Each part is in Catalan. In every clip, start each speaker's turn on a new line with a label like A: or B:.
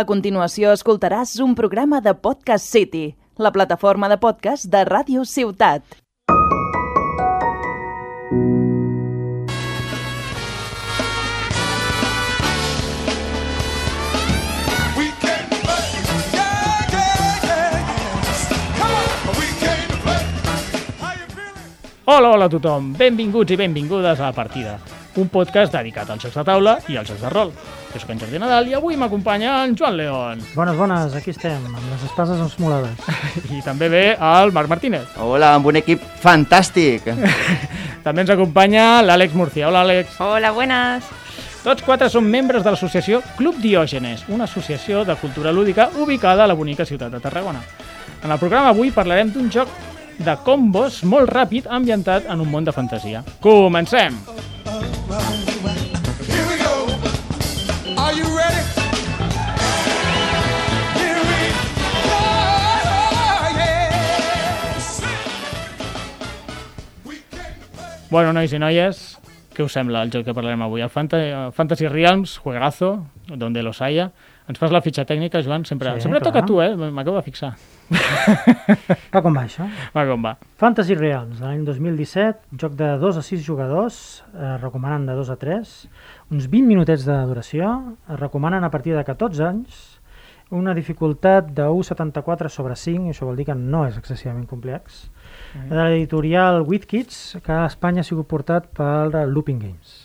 A: A continuació escoltaràs un programa de Podcast City, la plataforma de podcast de Ràdio Ciutat.
B: We came to play. Yeah, yeah, yeah, yeah. Come on. We came to play. How you feeling?
C: Hola, hola a tothom. Benvinguts i benvingudes a La Partida, un podcast dedicat als jocs de taula i als jocs de rol. Jo sóc en Jordi Nadal i avui m'acompanya en Joan León.
D: Bones, bones, aquí estem, amb les espases esmolades.
C: I també ve el Marc Martínez.
E: Hola, amb un equip fantàstic.
C: També ens acompanya l'Àlex Murcia. Hola, Àlex.
F: Hola, buenas.
C: Tots quatre són membres de l'associació Club Diògenes, una associació de cultura lúdica ubicada a la bonica ciutat de Tarragona. En el programa avui parlarem d'un joc de combos molt ràpid ambientat en un món de fantasia. Comencem!
B: Here we go. Are you ready? Here we go. Yes. We came to play.
C: Bueno, nois i noies, què us sembla el joc que parlarem avui? El Fanta Fantasy Realms, juegazo, donde los haya. Ens fas la fitxa tècnica, Joan? Sempre,
D: Sí,
C: sí, sempre
D: clar.
C: toca a tu, eh? M'acabo de fixar.
D: Va com va això?
C: Va, com va.
D: Fantasy Realms, de l'any 2017, joc de 2 a 6 jugadors, eh, recomanen de 2 a 3, uns 20 minutets de duració, eh, recomanen a partir de 14 anys, una dificultat de 1,74 sobre 5, això vol dir que no és excessivament complex,
C: Mm.
D: de l'editorial WizKids, que a Espanya ha sigut portat per Looping Games.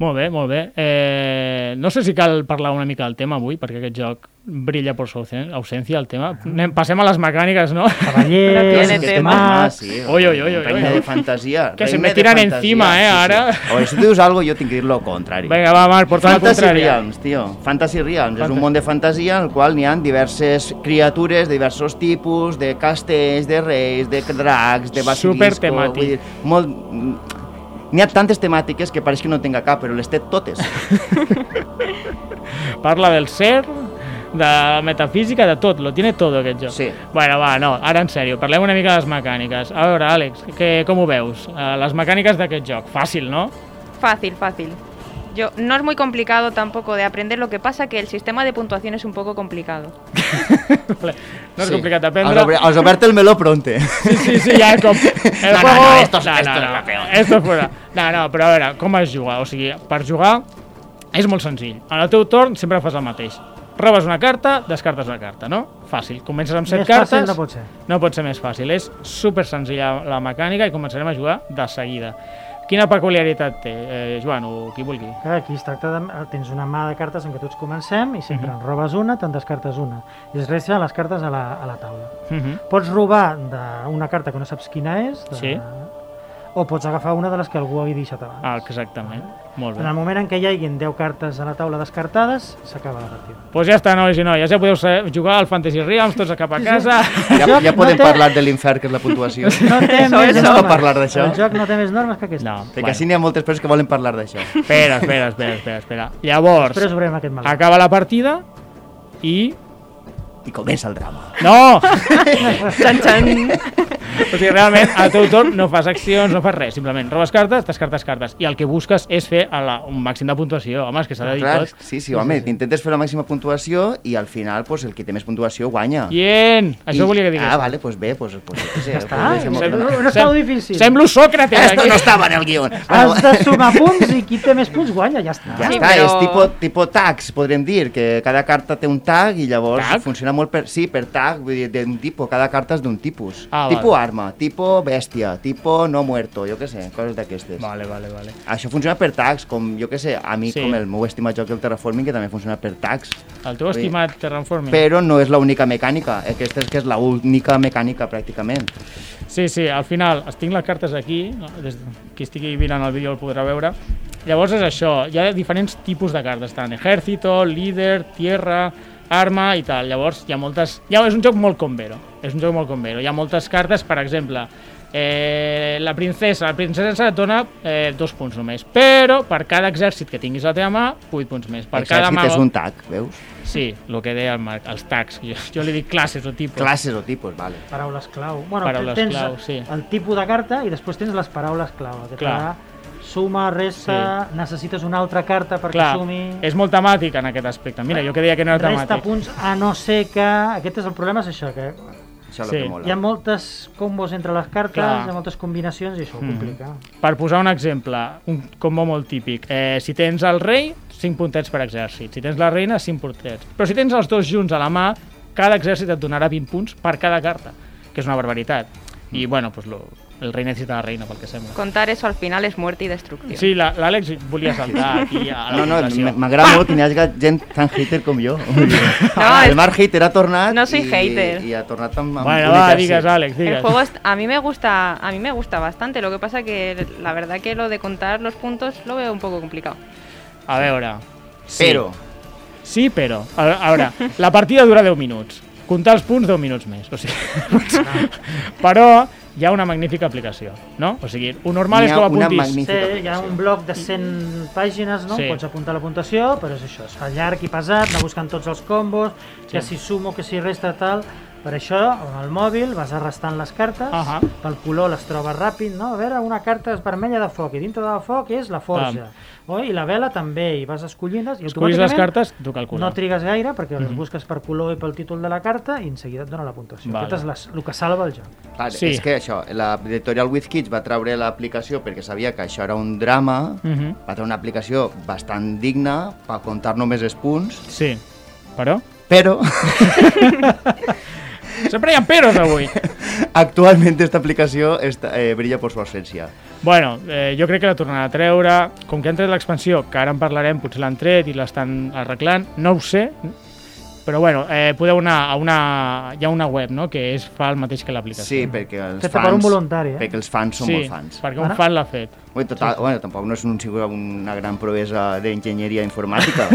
C: Molt bé, molt bé. Eh, no sé si cal parlar una mica del tema avui, perquè aquest joc brilla per su ausen- ausència, el tema. Anem, passem a les mecàniques, no?
D: Ah. Cavallers,
F: tiene tema.
D: mags,
E: ah, sí.
C: Oi, oi, oi, oi,
E: Reina
C: oi.
E: de fantasía.
C: Que se
E: reina
C: me
E: de
C: tiran
E: fantasía,
C: encima, eh, ahora.
E: Sí. O si tú dius algo, yo tengo que dir lo contrario.
C: Vinga, va, Marc, porta la
E: Fantasy
C: contrària.
E: Realms, tio. Fantasy Realms és
C: Fantasy.
E: un món de fantasia en el qual n'hi ha diverses criatures de diversos tipus, de castells, de reis, de dracs, de basilisco...
C: Supertemàtic.
E: vull dir, Molt... N'hi ha tantes temàtiques que pareix que no tenga cap, però les té totes.
C: Parla del ser, de metafísica, de tot. Lo tiene todo, aquest joc.
E: Sí.
C: Bueno, va, no, ara en sèrio, parlem una mica de les mecàniques. A veure, Àlex, que, com ho veus? Eh, les mecàniques d'aquest joc, fàcil, no?
F: Fácil, fácil. Yo, no es muy complicado tampoco de aprender, lo que pasa que el sistema de puntuación es un poco complicado.
C: Vale. No és sí. complicat d'aprendre.
E: Has, obert, has obert el meló pronte.
C: Sí, sí, sí, ja com... Eh, El
E: No, no,
C: juego-
E: no, esto es- esto es la peor.
C: Esto fuera. No, no, però a veure, com es juga? O sigui, per jugar és molt senzill. En el teu torn sempre fas el mateix. Robes una carta, descartes una carta, no? Fàcil. Comences amb set
D: Més
C: cartes.
D: fàcil no pot ser.
C: No pot ser més fàcil. És super senzilla la mecànica i començarem a jugar de seguida. Quina peculiaritat té, eh, Joan, o qui vulgui?
D: Que aquí es tracta de... eh, Tens una mà de cartes en què tots comencem i sempre
C: Mhm.
D: en robes una, te'n descartes una. I es resten les cartes a la, a la taula.
C: Uh
F: Mhm.
C: -huh.
D: Pots robar d'una carta que no saps quina és, de...
C: Sí.
D: o pots agafar una de les que algú hagi deixat abans.
C: Ah, exactament. Molt bé.
D: En el moment en què hi haguin 10 cartes a la taula descartades, s'acaba la partida.
C: Doncs pues ja està, nois i noies, ja podeu ser- jugar al Fantasy Realms, tots a cap a casa.
E: Ja, ja
D: no
E: podem
D: té-
E: parlar de l'infern, que és la puntuació.
D: No té
E: Això,
D: més
E: això.
D: normes.
E: No parlar d'això.
D: El joc no té més normes que aquest.
C: No,
E: Perquè així n'hi ha moltes persones que volen parlar d'això.
C: Espera, espera, espera, espera, espera. Llavors,
D: Però sobrem aquest mal.
C: acaba la partida i...
E: I comença el drama.
C: No!
F: Chan, chan.
C: O sigui, realment, al teu torn no fas accions, no fas res, simplement robes cartes, descartes cartes, i el que busques és fer a la, un màxim de puntuació. Home, és que
F: Ah,
C: s'ha de dir
E: Clar,
C: tot.
E: sí, sí, home, intentes fer la màxima puntuació i al final pues, el que té més puntuació guanya.
C: Bien! Això
E: I-
C: volia que digués.
E: Ah, vale, pues bé, pues, pues, pues, ja està.
D: Ah,
E: Pues,
D: no,
E: deixem-ho
D: no,
E: clar.
D: no estava difícil.
C: Semblo Sòcrates,
E: Esto
C: aquí.
E: no estava en el guió. Bueno,
C: Ah,
D: Has de sumar punts i qui té més punts guanya, ja està.
E: ja
F: Sí,
E: està,
F: però-
E: és tipus, tipus tags, podríem dir, que cada carta té un tag i llavors
C: Tag?
E: funciona molt per... Sí, per tag, vull dir, d'un tipus, cada carta és d'un tipus.
C: Ah,
E: tipo
C: vale.
E: arma, tipo bèstia, tipo no muerto, jo què sé, coses d'aquestes.
C: Vale, vale, vale.
E: Això funciona per tags, com jo que sé, a mi
C: Sí.
E: sí. com el meu estimat joc el Terraforming, que també funciona per tags,
C: El teu estimat Terraforming.
E: però no és l'única mecànica, aquesta és que és l'única mecànica pràcticament.
C: Sí, sí, al final es tinc les cartes aquí, des de, qui estigui mirant el vídeo el podrà veure. Llavors és això, hi ha diferents tipus de cartes, tant ejército, líder, tierra, arma i tal. Llavors hi ha moltes... Ja, és un joc molt convero, és un joc molt convero. Hi ha moltes cartes, per exemple, eh, la princesa, la princesa et dona eh, dos punts només, però per cada exèrcit que tinguis a la teva mà, vuit punts més. Per cada
E: Exèrcit
C: mà...
E: és un tag, veus?
C: Sí, el que deia el Marc, els tags. Jo, jo li dic classes o tipus.
E: Classes o tipus, vale.
D: Paraules clau. Bueno,
C: Paraules
D: tens
C: clau, sí.
D: el tipus de carta i després tens les paraules clau. Que
C: Clar.
D: clar. suma, resta, necessites una altra carta perquè
C: Clar,
D: sumi...
C: és molt temàtic en aquest aspecte. Mira, jo que deia que no era
D: Resta
C: temàtic.
D: punts, a no ser que... Aquest és el problema, és això, que
C: Sí.
E: Això és el que
D: hi ha
E: mola.
D: moltes combos entre les cartes,
C: Clar. Mm.
D: hi ha moltes combinacions i això ho complica.
C: Per posar un exemple, un combo molt típic. Eh, si tens el rei, 5 puntets per exèrcit. Si tens la reina, 5 puntets. Però si tens els dos junts a la mà, cada exèrcit et donarà 20 punts per cada carta, que és una barbaritat. I,
D: Mm.
C: bueno, pues lo, el rei necessita la reina, pel que sembla.
F: Contar eso al final es muerte y destrucción.
C: Sí, la- l'Àlex volia saltar aquí a la
E: No, no,
C: votació.
E: m- m'agrada molt que n'hi hagi gent tan hater com jo.
F: és-
E: el Marc Hater ha tornat
F: No soy
E: i,
F: hater.
E: i ha tornat amb, amb
C: Bueno,
E: un
C: va,
E: exèrcit.
C: digues, Àlex,
F: El
C: digues.
F: juego est- a mí me gusta, a mí me gusta bastante. Lo que pasa que la verdad que lo de contar los puntos lo veo un poco complicado.
C: A veure. Sí.
E: Però,
C: Sí, però. A a veure, la partida dura 10 minuts. Comptar els punts 10 minuts més. O sigui, però hi ha una magnífica aplicació, no? O sigui, un normal
E: N'hi
C: és
E: ha
C: com
E: una
C: apuntis.
E: magnífica-
D: Sí, hi ha un bloc de 100 pàgines, no?
C: Sí.
D: Pots apuntar la puntuació, però és això, es fa llarg i pesat, anar buscant tots els combos, que
C: Sí.
D: si sumo, que si resta, tal... Per això, amb el mòbil, vas arrestant les cartes,
C: Ahà.
D: pel color les trobes ràpid, no? A veure, una carta és vermella de foc, i dintre de foc és la forja. Oi? I la vela també, i vas escollint-les, i
C: Escollis les
D: automàticament
C: cartes, Mhm. tu calcula.
D: no trigues gaire, perquè les busques per color i pel títol de la carta, i en seguida et dona la puntuació.
C: Vale.
D: Aquest és les, el que salva el joc.
E: clar,
C: Sí.
E: és que això, l'editorial WizKids va treure l'aplicació perquè sabia que això era un drama,
C: Mhm.
E: va treure una aplicació bastant digna per comptar només els punts,
C: Sí, però...
E: però
C: Sempre hi ha peros avui.
E: actualment aquesta aplicació està, eh, brilla per su ausència.
C: Bueno, eh, jo crec que la tornaran a treure. Com que han tret l'expansió, que ara en parlarem, potser l'han tret i l'estan arreglant, no ho sé, però bueno, eh, podeu anar a una... Hi ha una web, no?, que és, fa el mateix que l'aplicació.
E: Sí, perquè els
D: Feta per
E: fans...
D: un voluntari, eh?
E: Perquè els fans són
C: sí,
E: molt fans.
C: perquè un
D: Ara-
C: fan l'ha fet.
E: Bé, total, bueno, tampoc no és un, sigut una gran proesa d'enginyeria informàtica,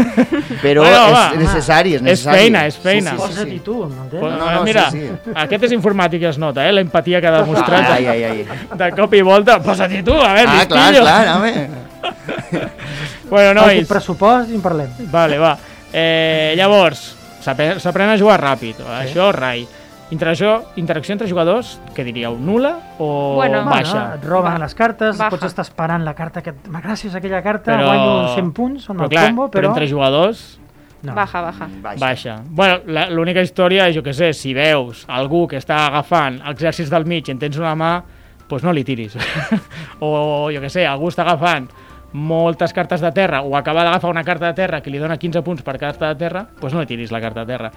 E: però
C: Bueno,
E: és,
C: va,
E: és necessari, és
C: És
E: necessari.
C: feina, és feina.
E: Sí, sí,
D: Posa-t'hi
E: sí, sí.
D: tu, m'entens?
C: Pues, eh,
E: no, no,
C: mira,
E: sí, sí.
C: aquest és informàtic i es nota, eh? L'empatia que ha demostrat
E: Ai, ai, ai.
C: de cop i volta. Posa-t'hi tu, a veure,
E: Ah, clar,
C: listillo.
E: clar, home.
C: Bueno,
D: No, el
C: nois,
D: pressupost i en parlem.
C: vale, va. Eh, llavors, s'ape- s'aprèn a jugar ràpid. Això, rai. Interacció, interacció entre jugadors, què diríeu, nula o
F: Bueno.
C: baixa?
D: et roben
F: Ba-
D: les cartes,
F: baja.
D: pots estar esperant la carta que... et- Gràcies a aquella carta guanyo 100 punts, on
C: però,
D: el
C: clar,
D: combo,
C: però
D: però...
C: entre jugadors,
D: No.
F: Baja, baja.
E: Baixa.
C: Baixa. Bueno, la- l'única història, jo que sé, si veus algú que està agafant exèrcits del mig i en tens una mà, doncs no li tiris. o, jo que sé, algú està agafant moltes cartes de terra o acaba d'agafar una carta de terra que li dona 15 punts per carta de terra, doncs no li tiris la carta de terra.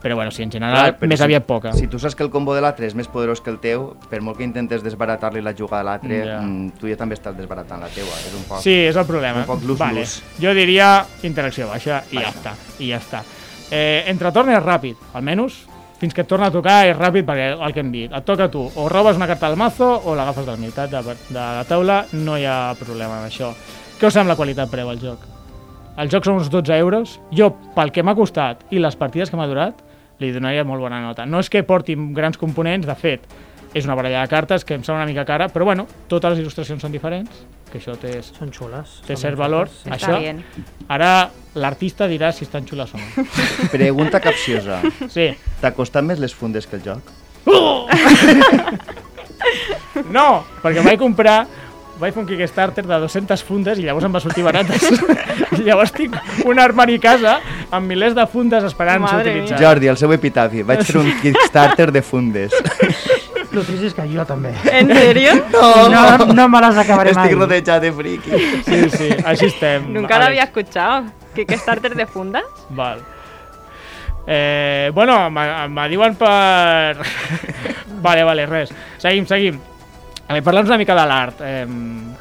C: Però bueno, sí, en general,
E: però
C: més
E: si-
C: aviat poca.
E: Si tu saps que el combo de l'altre és més poderós que el teu, per molt que intentes desbaratar-li la jugada a l'altre,
C: Ja.
E: mm, tu ja també estàs desbaratant la teua. És un poc...
C: Sí, és el problema.
E: Un poc lose-lose.
C: vale. Jo diria interacció baixa i ja està. I ja està. Eh, entretorn és ràpid, almenys fins que et torna a tocar és ràpid perquè el que hem dit, et toca a tu, o robes una carta al mazo o l'agafes del meitat de, de la taula, no hi ha problema amb això. Què us sembla qualitat preu al joc? El joc són uns 12 euros, jo pel que m'ha costat i les partides que m'ha durat, li donaria molt bona nota. No és que porti grans components, de fet, és una baralla de cartes que em sembla una mica cara, però bueno, totes les il·lustracions són diferents, que això té,
D: Són xules.
C: té
D: són
C: cert
D: ben
C: valor.
D: fetes,
F: Està
C: Això,
F: bien.
C: ara l'artista dirà si estan xules o no.
E: Pregunta capciosa.
C: Sí.
E: T'ha costat més les fundes que el joc?
C: No, perquè vaig comprar vaig fer un Kickstarter de 200 fundes i llavors em va sortir barates. I llavors tinc un armari a casa amb milers de fundes esperant ser
F: Madre mia.
C: utilitzades.
E: Jordi, el seu epitafi. Vaig fer un Kickstarter de fundes.
D: sí. Lo trist és que jo també.
F: ¿En serio?
D: No, no me les acabaré mai.
E: Estic rodejat de friquis.
C: Sí, sí, així estem.
F: Nunca lo
C: Àlex.
F: había escuchado. ¿Qué, qué starter de fundas?
C: Val. Eh, bueno, me me diuen per... vale, vale, res. Seguim, seguim. A veure, parla'ns una mica de l'art, eh,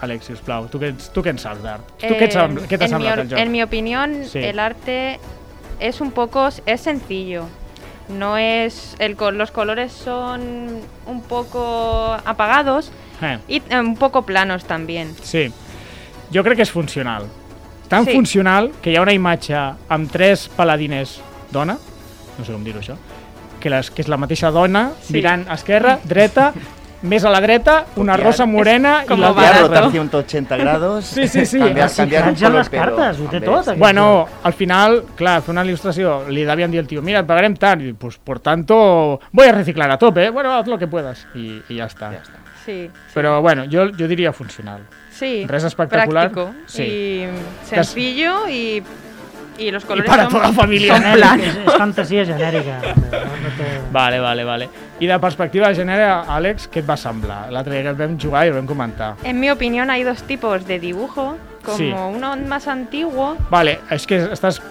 C: Àlex, sisplau. Tu que, ets- tu que en saps d'art? tu què, et sembla, què t'ha
F: Eh, en mi
C: semblat
F: or-
C: el joc?
F: En mi opinión,
C: Sí.
F: el arte es un poco es sencillo. No es el col- los colores son un poco apagados
C: Eh,
F: y eh, un poco planos también.
C: sí. Jo crec que és funcional. Tan
F: Sí.
C: funcional que hi ha una imatge amb tres paladines dona, no sé com dir-ho això, que, les, que és la mateixa dona,
F: Sí.
C: mirant a esquerra, dreta, més a la dreta, una
E: Copiar.
C: rosa morena i
F: com
C: la
F: Barato.
E: Cambiar
F: barato.
E: rotación 80 grados.
C: Sí, sí, sí.
E: Cambiar,
C: Ah,
D: Sí,
E: cambiar un
D: ja
E: color,
D: les
E: però
D: cartes, ho té
E: també-
D: tot. aquest
C: Bueno,
D: joc.
C: al final, clar, fer una il·lustració, li devien dir al tio, mira, et pagarem tant, i, pues, por tanto, voy a reciclar a tope, eh? bueno, haz lo que puedas, i, i ja està.
E: Ja està.
F: Sí,
C: Però bueno, jo, jo diria funcional.
F: sí.
C: Res espectacular.
F: Práctico
C: Sí.
F: y sencillo y, y los colores
C: para
F: son,
C: toda la eh? familia,
F: son
C: ¿no?
D: És,
F: planos.
D: és fantasia genèrica. No, no té...
C: Vale, vale, vale. I de perspectiva de gènere, Àlex, què et va semblar? L'altre dia que vam jugar i ho vam comentar.
F: En mi opinión hay dos tipos de dibujo, como
C: Sí.
F: uno más antiguo,
C: Vale, és que estàs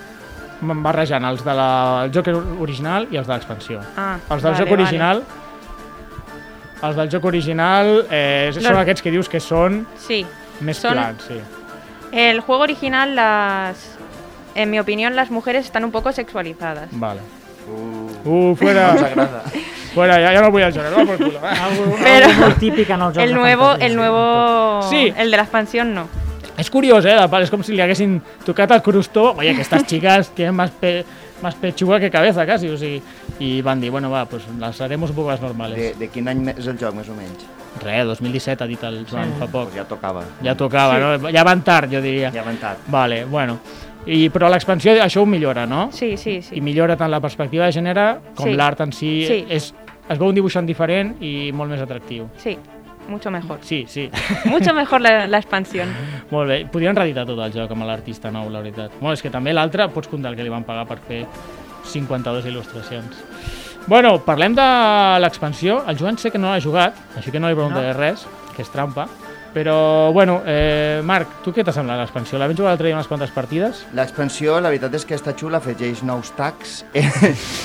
C: barrejant els del joc original i els de l'expansió.
F: Ah,
C: els del
F: vale,
C: joc original... Els del joc original eh, són
F: Los-
C: aquests que dius que són
F: sí.
C: més
F: Són-
C: plans, sí.
F: El juego original, las, en mi opinión, las mujeres están un poco sexualizadas.
C: Vale. Uh, fuera. fuera, ya, ya no voy al llorar, no eh? por culo.
D: Algo,
F: Però-
D: algo molt típic en els jocs
F: El
D: de
F: nuevo,
D: fantasia,
F: el
D: sí,
F: nuevo,
C: Sí.
F: el de la expansión no.
C: Es curioso, ¿eh? Es como si le haguesen tocado al crusto. Oye, que estas chicas tienen más, pe- más pechuga que cabeza casi. O sigui, y Bandy, bueno, va, pues las haremos un poco las normales.
E: De, de quin any és el joc, més o menys?
C: Re, 2017 ha dit el Joan fa poc.
E: Pues ja tocava.
C: Ja tocava, no? Ja van tard, jo diria.
E: Ja avançat.
C: Vale, bueno. I, però l'expansió això ho millora, no?
F: Sí, sí,
C: I
F: sí.
C: millora tant la perspectiva de gènere com
F: Sí.
C: l'art en si.
F: Sí.
C: És, es veu un dibuixant diferent i molt més atractiu.
F: Sí, mucho mejor.
C: Sí, sí.
F: Mucho mejor la, la expansión.
C: Molt bé, podrien reeditar tot el joc amb l'artista nou, la veritat. Bueno, és que també l'altre pots comptar el que li van pagar per fer 52 il·lustracions. Bueno, parlem de l'expansió. El Joan sé que no l'ha jugat, així que no li preguntaré no. res, que és trampa. Però, bueno, eh, Marc, tu què t'ha semblat l'expansió? La vam jugar l'altre dia unes quantes partides?
E: L'expansió, la veritat és que està xula, afegeix nous tags eh,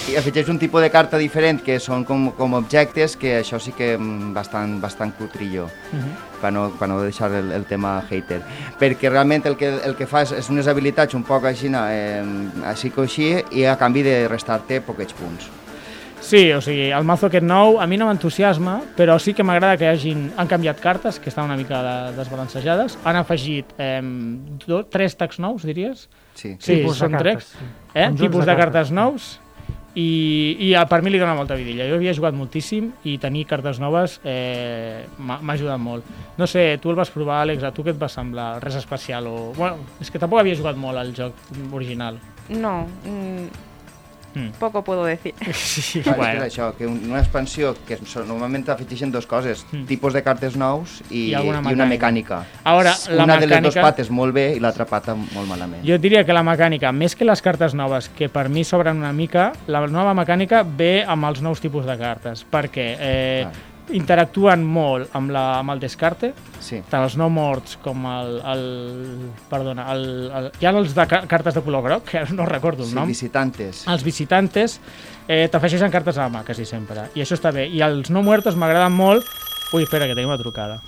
E: i afegeix un tipus de carta diferent que són com, com objectes que això sí que mm, bastant, bastant cutrillo.
C: Uh -huh.
E: per no, per no deixar el, el tema hater, perquè realment el que, el que fa és, és unes habilitats un poc així, eh, així que així, i a canvi de restar-te poquets punts.
C: Sí, o sigui, el mazo aquest nou a mi no m'entusiasma, però sí que m'agrada que hagin, han canviat cartes, que estan una mica de, desbalancejades, han afegit eh, do, tres tags nous, diries,
E: Sí.
C: Sí,
D: Tipus de
C: són
D: cartes,
C: trecs.
D: sí.
C: Eh?
D: Conjunts
C: Tipus
D: de
C: de, cartes
D: cartes.
C: nous. I, i a, per mi li dona molta vidilla. Jo havia jugat moltíssim i tenir cartes noves eh, m'ha m'ha ajudat molt. No sé, tu el vas provar, Àlex, a tu què et va semblar? Res especial o... Bueno, és que tampoc havia jugat molt al joc original.
F: No, mm,
C: Mm.
F: poco puedo decir.
C: Sí,
E: Clar, és que és això, que un- una expansió que són- normalment afegeixen dues coses,
C: Mm.
E: tipus de cartes nous
C: I
E: i, I,
C: alguna
E: i una mecànica.
C: Ara, la
E: una de les dues
C: mecànica-
E: pates molt bé i l'altra pata molt malament.
C: Jo et diria que la mecànica, més que les cartes noves, que per mi s'obren una mica, la nova mecànica ve amb els nous tipus de cartes, perquè eh,
E: Ah.
C: interactuen molt amb, la, amb el descarte,
E: Sí.
C: tant els no morts com el... el perdona, el, el, hi ha els de ca- cartes de color groc, que ara no recordo el
E: Sí,
C: nom. Ah.
E: visitantes.
C: Els visitantes eh, t'afegeixen cartes a la mà, quasi sempre. I això està bé. I els no muertos m'agraden molt... Ui, espera, que tenim una trucada.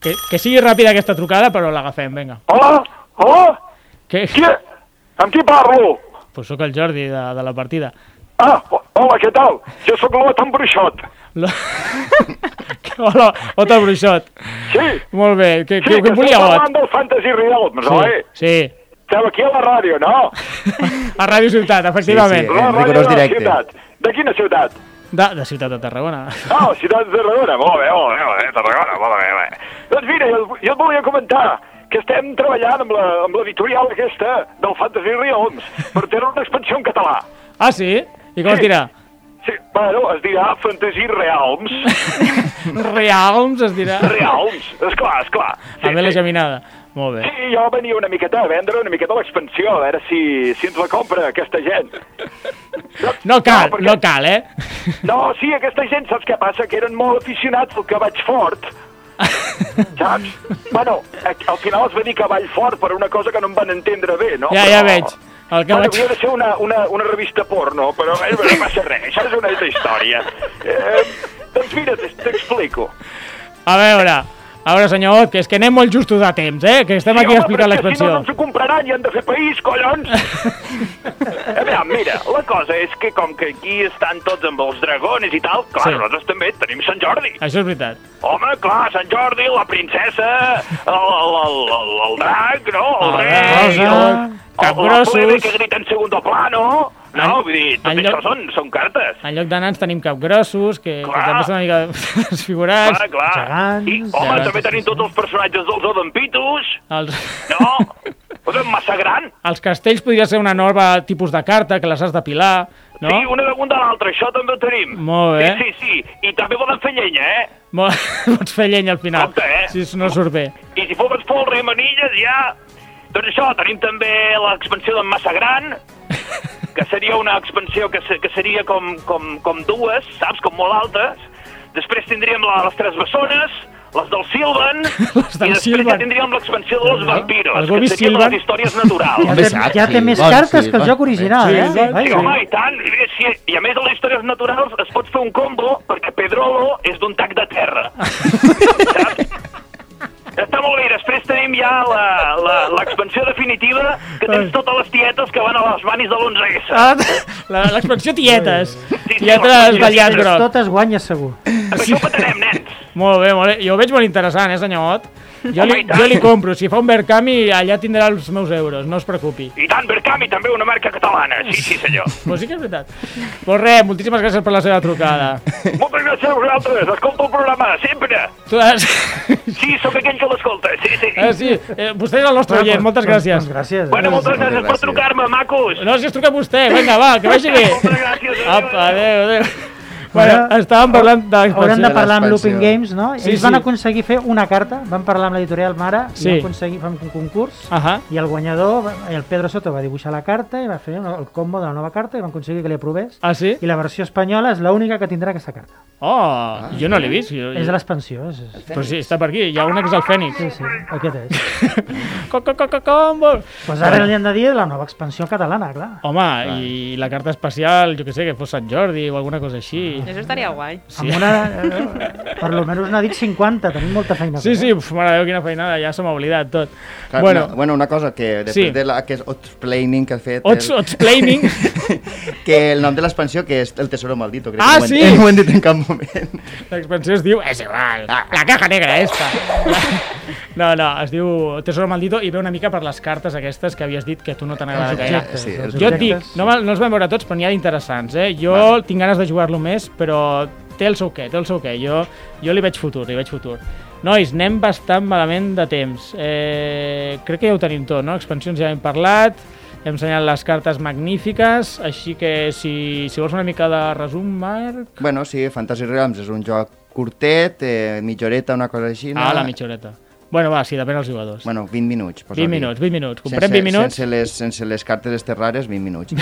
C: Que, que sigui ràpida aquesta trucada, però l'agafem, vinga.
G: Hola? Hola?
C: Que,
G: Qui? Amb qui parlo?
C: pues sóc el Jordi de, de la partida.
G: Ah, ho- hola, què tal? Jo sóc l'Ota en Bruixot.
C: Lo... Hola, Ota Bruixot.
G: Sí,
C: Molt bé. Què
G: sí,
C: què- què
G: que
C: volia,
G: estem
C: Ot?
G: parlant del Fantasy Real, no sí. eh?
C: Sí, sí.
G: Esteu aquí a la ràdio, no?
C: A Ràdio Ciutat, efectivament.
E: Sí,
G: La
E: en
G: ràdio
E: rigorós
G: de la
E: directe.
G: ciutat. De quina ciutat?
C: De, de Ciutat de Tarragona.
G: Ah, oh, ciutat de Tarragona. Molt bé, molt bé, molt bé, Tarragona, molt bé, molt bé. Doncs mira, jo, jo et volia comentar que estem treballant amb la- amb l'editorial aquesta del Fantasy Realms per tenir una expansió en català.
C: Ah, sí? I com es
G: Sí.
C: dirà?
G: Sí, bueno, es dirà Fantasy Realms.
C: Realms es dirà.
G: Realms, esclar, esclar. Sí,
C: També la
G: sí.
C: geminada. Molt bé.
G: Sí, jo venia una miqueta a vendre una miqueta l'expansió, a veure si, si ens la compra aquesta gent.
C: No cal,
G: perquè-
C: no cal, eh?
G: No, sí, aquesta gent, saps què passa? Que eren molt aficionats al cavall fort, saps? bueno, a- al final es va dir cavall fort per una cosa que no em van entendre bé, no?
C: Ja, ja veig. El que
G: Bueno,
C: vaig...
G: havia de ser una, una, una revista porno, però eh, no passa res, això és una altra història. Eh, doncs mira, t'ex- t'explico.
C: A veure, a veure, senyor Ot, que és que anem molt justos a temps, eh? Que estem aquí
G: home,
C: explicant
G: però és que Si no,
C: l'expansió.
G: no ens ho compraran i han de fer país, collons! a veure, mira, la cosa és que com que aquí estan tots amb els dragones i tal, clar,
C: Sí.
G: sí. nosaltres també tenim Sant Jordi.
C: Això és veritat.
G: Home, clar, Sant Jordi, la princesa, el, el, el, el, el drac, no? El
C: A
G: rei,
C: veure,
G: el,
D: Rosa.
C: capgrossos.
G: O, o que grita en segundo plano. No,
C: En-
G: vull dir, tot
C: en
G: això
C: lloc-
G: són, són cartes.
C: En lloc de nans tenim capgrossos, que, que
G: Clar.
C: també són una mica desfigurats.
G: Clar, clar.
D: gegants,
G: I, home,
C: gegants,
G: també
D: sí,
G: tenim
D: sí.
G: tots els personatges dels odempitos.
C: Els...
G: No, Escolta, massa gran.
C: Els castells podria ser una nova tipus de carta que les has d'apilar, no?
G: Sí, una damunt de l'altra, això també ho tenim.
C: Molt bé.
G: Sí, sí, sí. I també volen fer llenya, eh?
C: Mo- Pots fer llenya al final,
G: Compte, eh?
C: si no surt bé.
G: I si fos folre i manilles, ja... Doncs això, tenim també l'expansió d'en Massa Gran, que seria una expansió que, se, que seria com, com, com dues, saps? Com molt altes. Després tindríem la, les tres bessones, les del Silvan,
C: Les del
G: i després
C: Silvan.
G: ja tindríem l'expansió dels vampiros,
C: El Bobby
G: que serien
C: Silvan.
G: les històries naturals.
D: Ja
E: Home,
D: té,
E: saps,
D: ja
E: sí,
D: té més
E: bon,
D: cartes
E: sí,
D: que el
E: bon.
D: joc original,
C: Sí,
D: eh?
C: sí,
D: Vaja.
G: Sí, home, i tant. I, bé, sí, I a més, a les històries naturals es pot fer un combo perquè Pedrolo és d'un tac de terra. Saps? Està molt bé. Després tenim ja la- la- l'expansió definitiva, que tens totes les tietes que van a les manis de l'11S.
C: Ah, la- L'expansió tietes.
G: sí,
C: Tietes
G: sí,
C: ballat
G: sí,
D: Però
C: groc.
D: totes guanyes segur.
G: Això ho patarem, nens.
C: Molt bé, molt bé. Jo ho veig molt interessant, eh, senyor Ot? Jo
G: Home,
C: li,
G: i tant.
C: jo li compro. Si fa un Verkami, allà tindrà els meus euros, no es preocupi.
G: I tant, Berkami, també una marca catalana. Sí, sí, senyor.
C: Però sí que és veritat. Doncs res, moltíssimes gràcies per la seva trucada.
G: Moltes gràcies a vosaltres. Escolto el programa, sempre.
C: Tu has...
G: Sí, sóc aquell que l'escolta. Sí, sí.
C: Ah, sí. Eh, vostè és el nostre
D: Bueno,
C: oient, moltes
D: doncs-
C: gràcies.
D: doncs Gràcies.
G: Bueno, moltes
E: Moltes
G: gràcies per
E: gràcies.
G: trucar-me, macos.
C: No, si es truca vostè, vinga, va, que vagi bé.
G: Moltes gràcies, adéu,
C: Apa,
G: adéu.
C: adéu, adéu. Bueno, estàvem parlant de
D: Hauran
C: l'expansió.
D: de parlar amb
E: L'expansió.
D: Looping Games, no?
C: Sí,
D: Ells van
C: sí.
D: aconseguir fer una carta, van parlar amb l'editorial Mare,
C: Sí. Ah.
D: i van aconseguir fer un concurs,
C: Ahà.
D: i el guanyador, va- el Pedro Soto, va dibuixar la carta i va fer el combo de la nova carta i van aconseguir que li aprovés.
C: Ah, sí?
D: I la versió espanyola és l'única que tindrà aquesta carta.
C: Oh, jo no l'he vist. Jo,
D: És de l'expansió. És, és...
C: Però sí, està per aquí. Hi ha una que és el Fènix.
D: Sí, sí, aquest és.
C: Co, co, co, co, combo.
D: pues ara li han de dir la nova expansió catalana, clar.
C: Home, i la carta especial, jo que sé, que fos Sant Jordi o alguna cosa així.
F: Eso estaría guay.
C: Sí.
D: Amb una, eh, per lo menys n'ha dit 50, tenim molta feina. a
C: Sí,
D: fer.
C: sí, uf, mare de Déu, quina feinada, ja se m'ha oblidat tot.
E: Clar,
C: bueno,
E: una, bueno, una cosa que després
C: Sí.
E: sí. de la, aquest outplaining que ha fet
C: ots,
E: el,
C: ots planning.
E: que el nom de l'expansió que és el Tesoro Maldito crec
C: Ah,
E: que ho,
C: sí?
E: hem, ho hem dit en cap moment
C: L'expansió es diu... És igual, la caja negra esta. No, no, es diu Tesoro Maldito i ve una mica per les cartes aquestes que havies dit que a tu no t'han agradat gaire.
D: Objectes,
E: Sí,
D: els
E: els
C: Jo et dic,
D: objectes.
C: no, me'l- no els vam veure tots, però n'hi ha d'interessants, eh? Jo
E: Vale.
C: tinc ganes de jugar-lo més, però té el seu què, té el seu què. Jo, jo li veig futur, li veig futur. Nois, anem bastant malament de temps. Eh, crec que ja ho tenim tot, no? Expansions ja hem parlat, hem ensenyat les cartes magnífiques, així que si, si vols una mica de resum, Marc...
E: bueno, sí, Fantasy Realms és un joc curtet, eh, mitjoreta, una cosa així no?
C: Ah, la mitjoreta. Bueno, va, sí, depèn dels jugadors.
E: bueno, 20 minuts posa-li.
C: 20 minuts, 20 minuts. Comprem 20 minuts.
E: Sense les, sense les cartes esterrares, 20 minuts.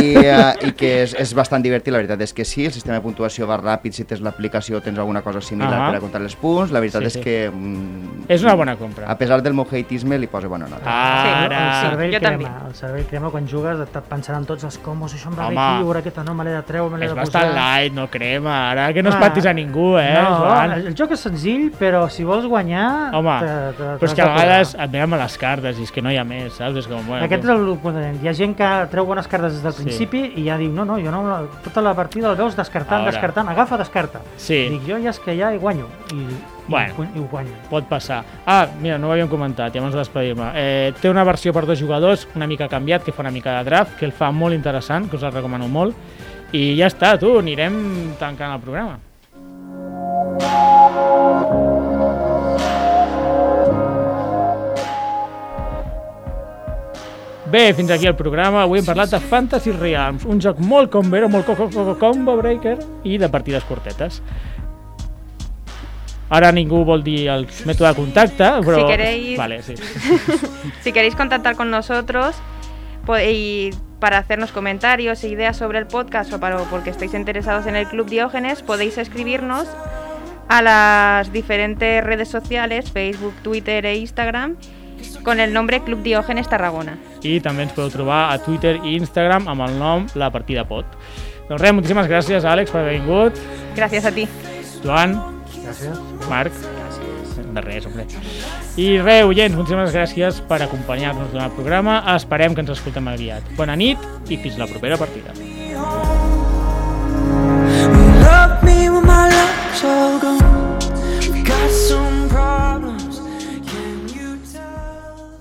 E: I, uh, i que és, és bastant divertit, la veritat és que sí, el sistema de puntuació va ràpid, si tens l'aplicació tens alguna cosa similar
C: Ahà.
E: per a comptar els punts, la veritat
C: Sí,
E: sí, és
C: sí.
E: que... Mm,
C: És una bona compra.
E: A pesar del mojitisme, li posa bona nota.
C: Ara...
D: El cervell
F: Jo
D: crema,
F: també.
D: el cervell crema quan jugues et pensaran tots els combos, això em va
C: Home.
D: bé aquí, ara aquesta no, me l'he de treure, me l'he
C: És
D: de posar...
C: bastant light, no crema. Ara que no
D: Va.
C: espantis a ningú, eh,
D: no,
C: Joan.
D: el, el joc és senzill, però si vols guanyar...
C: Home,
D: te- te-
C: però és
D: t'has
C: que a
D: de posar.
C: vegades et venen a les cartes i és que no hi ha més, saps? És com, bueno,
D: Aquest és
C: tu-
D: el component. Hi ha gent que treu bones cartes des del principi i ja diu, no, no, jo no, la- tota la partida el veus descartant,
C: Ara.
D: descartant, agafa, descarta.
C: Sí.
D: Dic, jo ja és que ja hi guanyo. I,
C: Bueno.
D: i, i ho guanyo.
C: Pot passar. Ah, mira, no ho havíem comentat, i abans de despedir-me. Eh, té una versió per dos jugadors, una mica canviat, que fa una mica de draft, que el fa molt interessant, que us el recomano molt. I ja està, tu, anirem tancant el programa. Bé, fins aquí el programa. Avui hem parlat de Fantasy Realms, un joc molt combero, molt co co- co- combo breaker i de partides cortetes. Ara ningú vol dir el mètode de contacte, però...
F: queréis-
C: Vale, sí.
F: Si queréis contactar con nosotros po- y para hacernos comentarios e ideas sobre el podcast o para, o porque estáis interesados en el Club Diógenes, podéis escribirnos a las diferentes redes sociales, Facebook, Twitter e Instagram, con el nombre Club Diógenes Tarragona.
C: i també ens podeu trobar a Twitter i Instagram amb el nom La Partida Pot. Doncs res, moltíssimes gràcies, Àlex, per haver vingut.
F: Gracias a ti.
C: Joan,
D: Gràcies.
C: Marc, de res, hombre. I res, oients, moltíssimes gràcies per acompanyar-nos durant el programa. Esperem que ens escoltem aviat. Bona nit i fins la propera partida.
H: Love me when my love's all gone. Got some problems. Can you tell?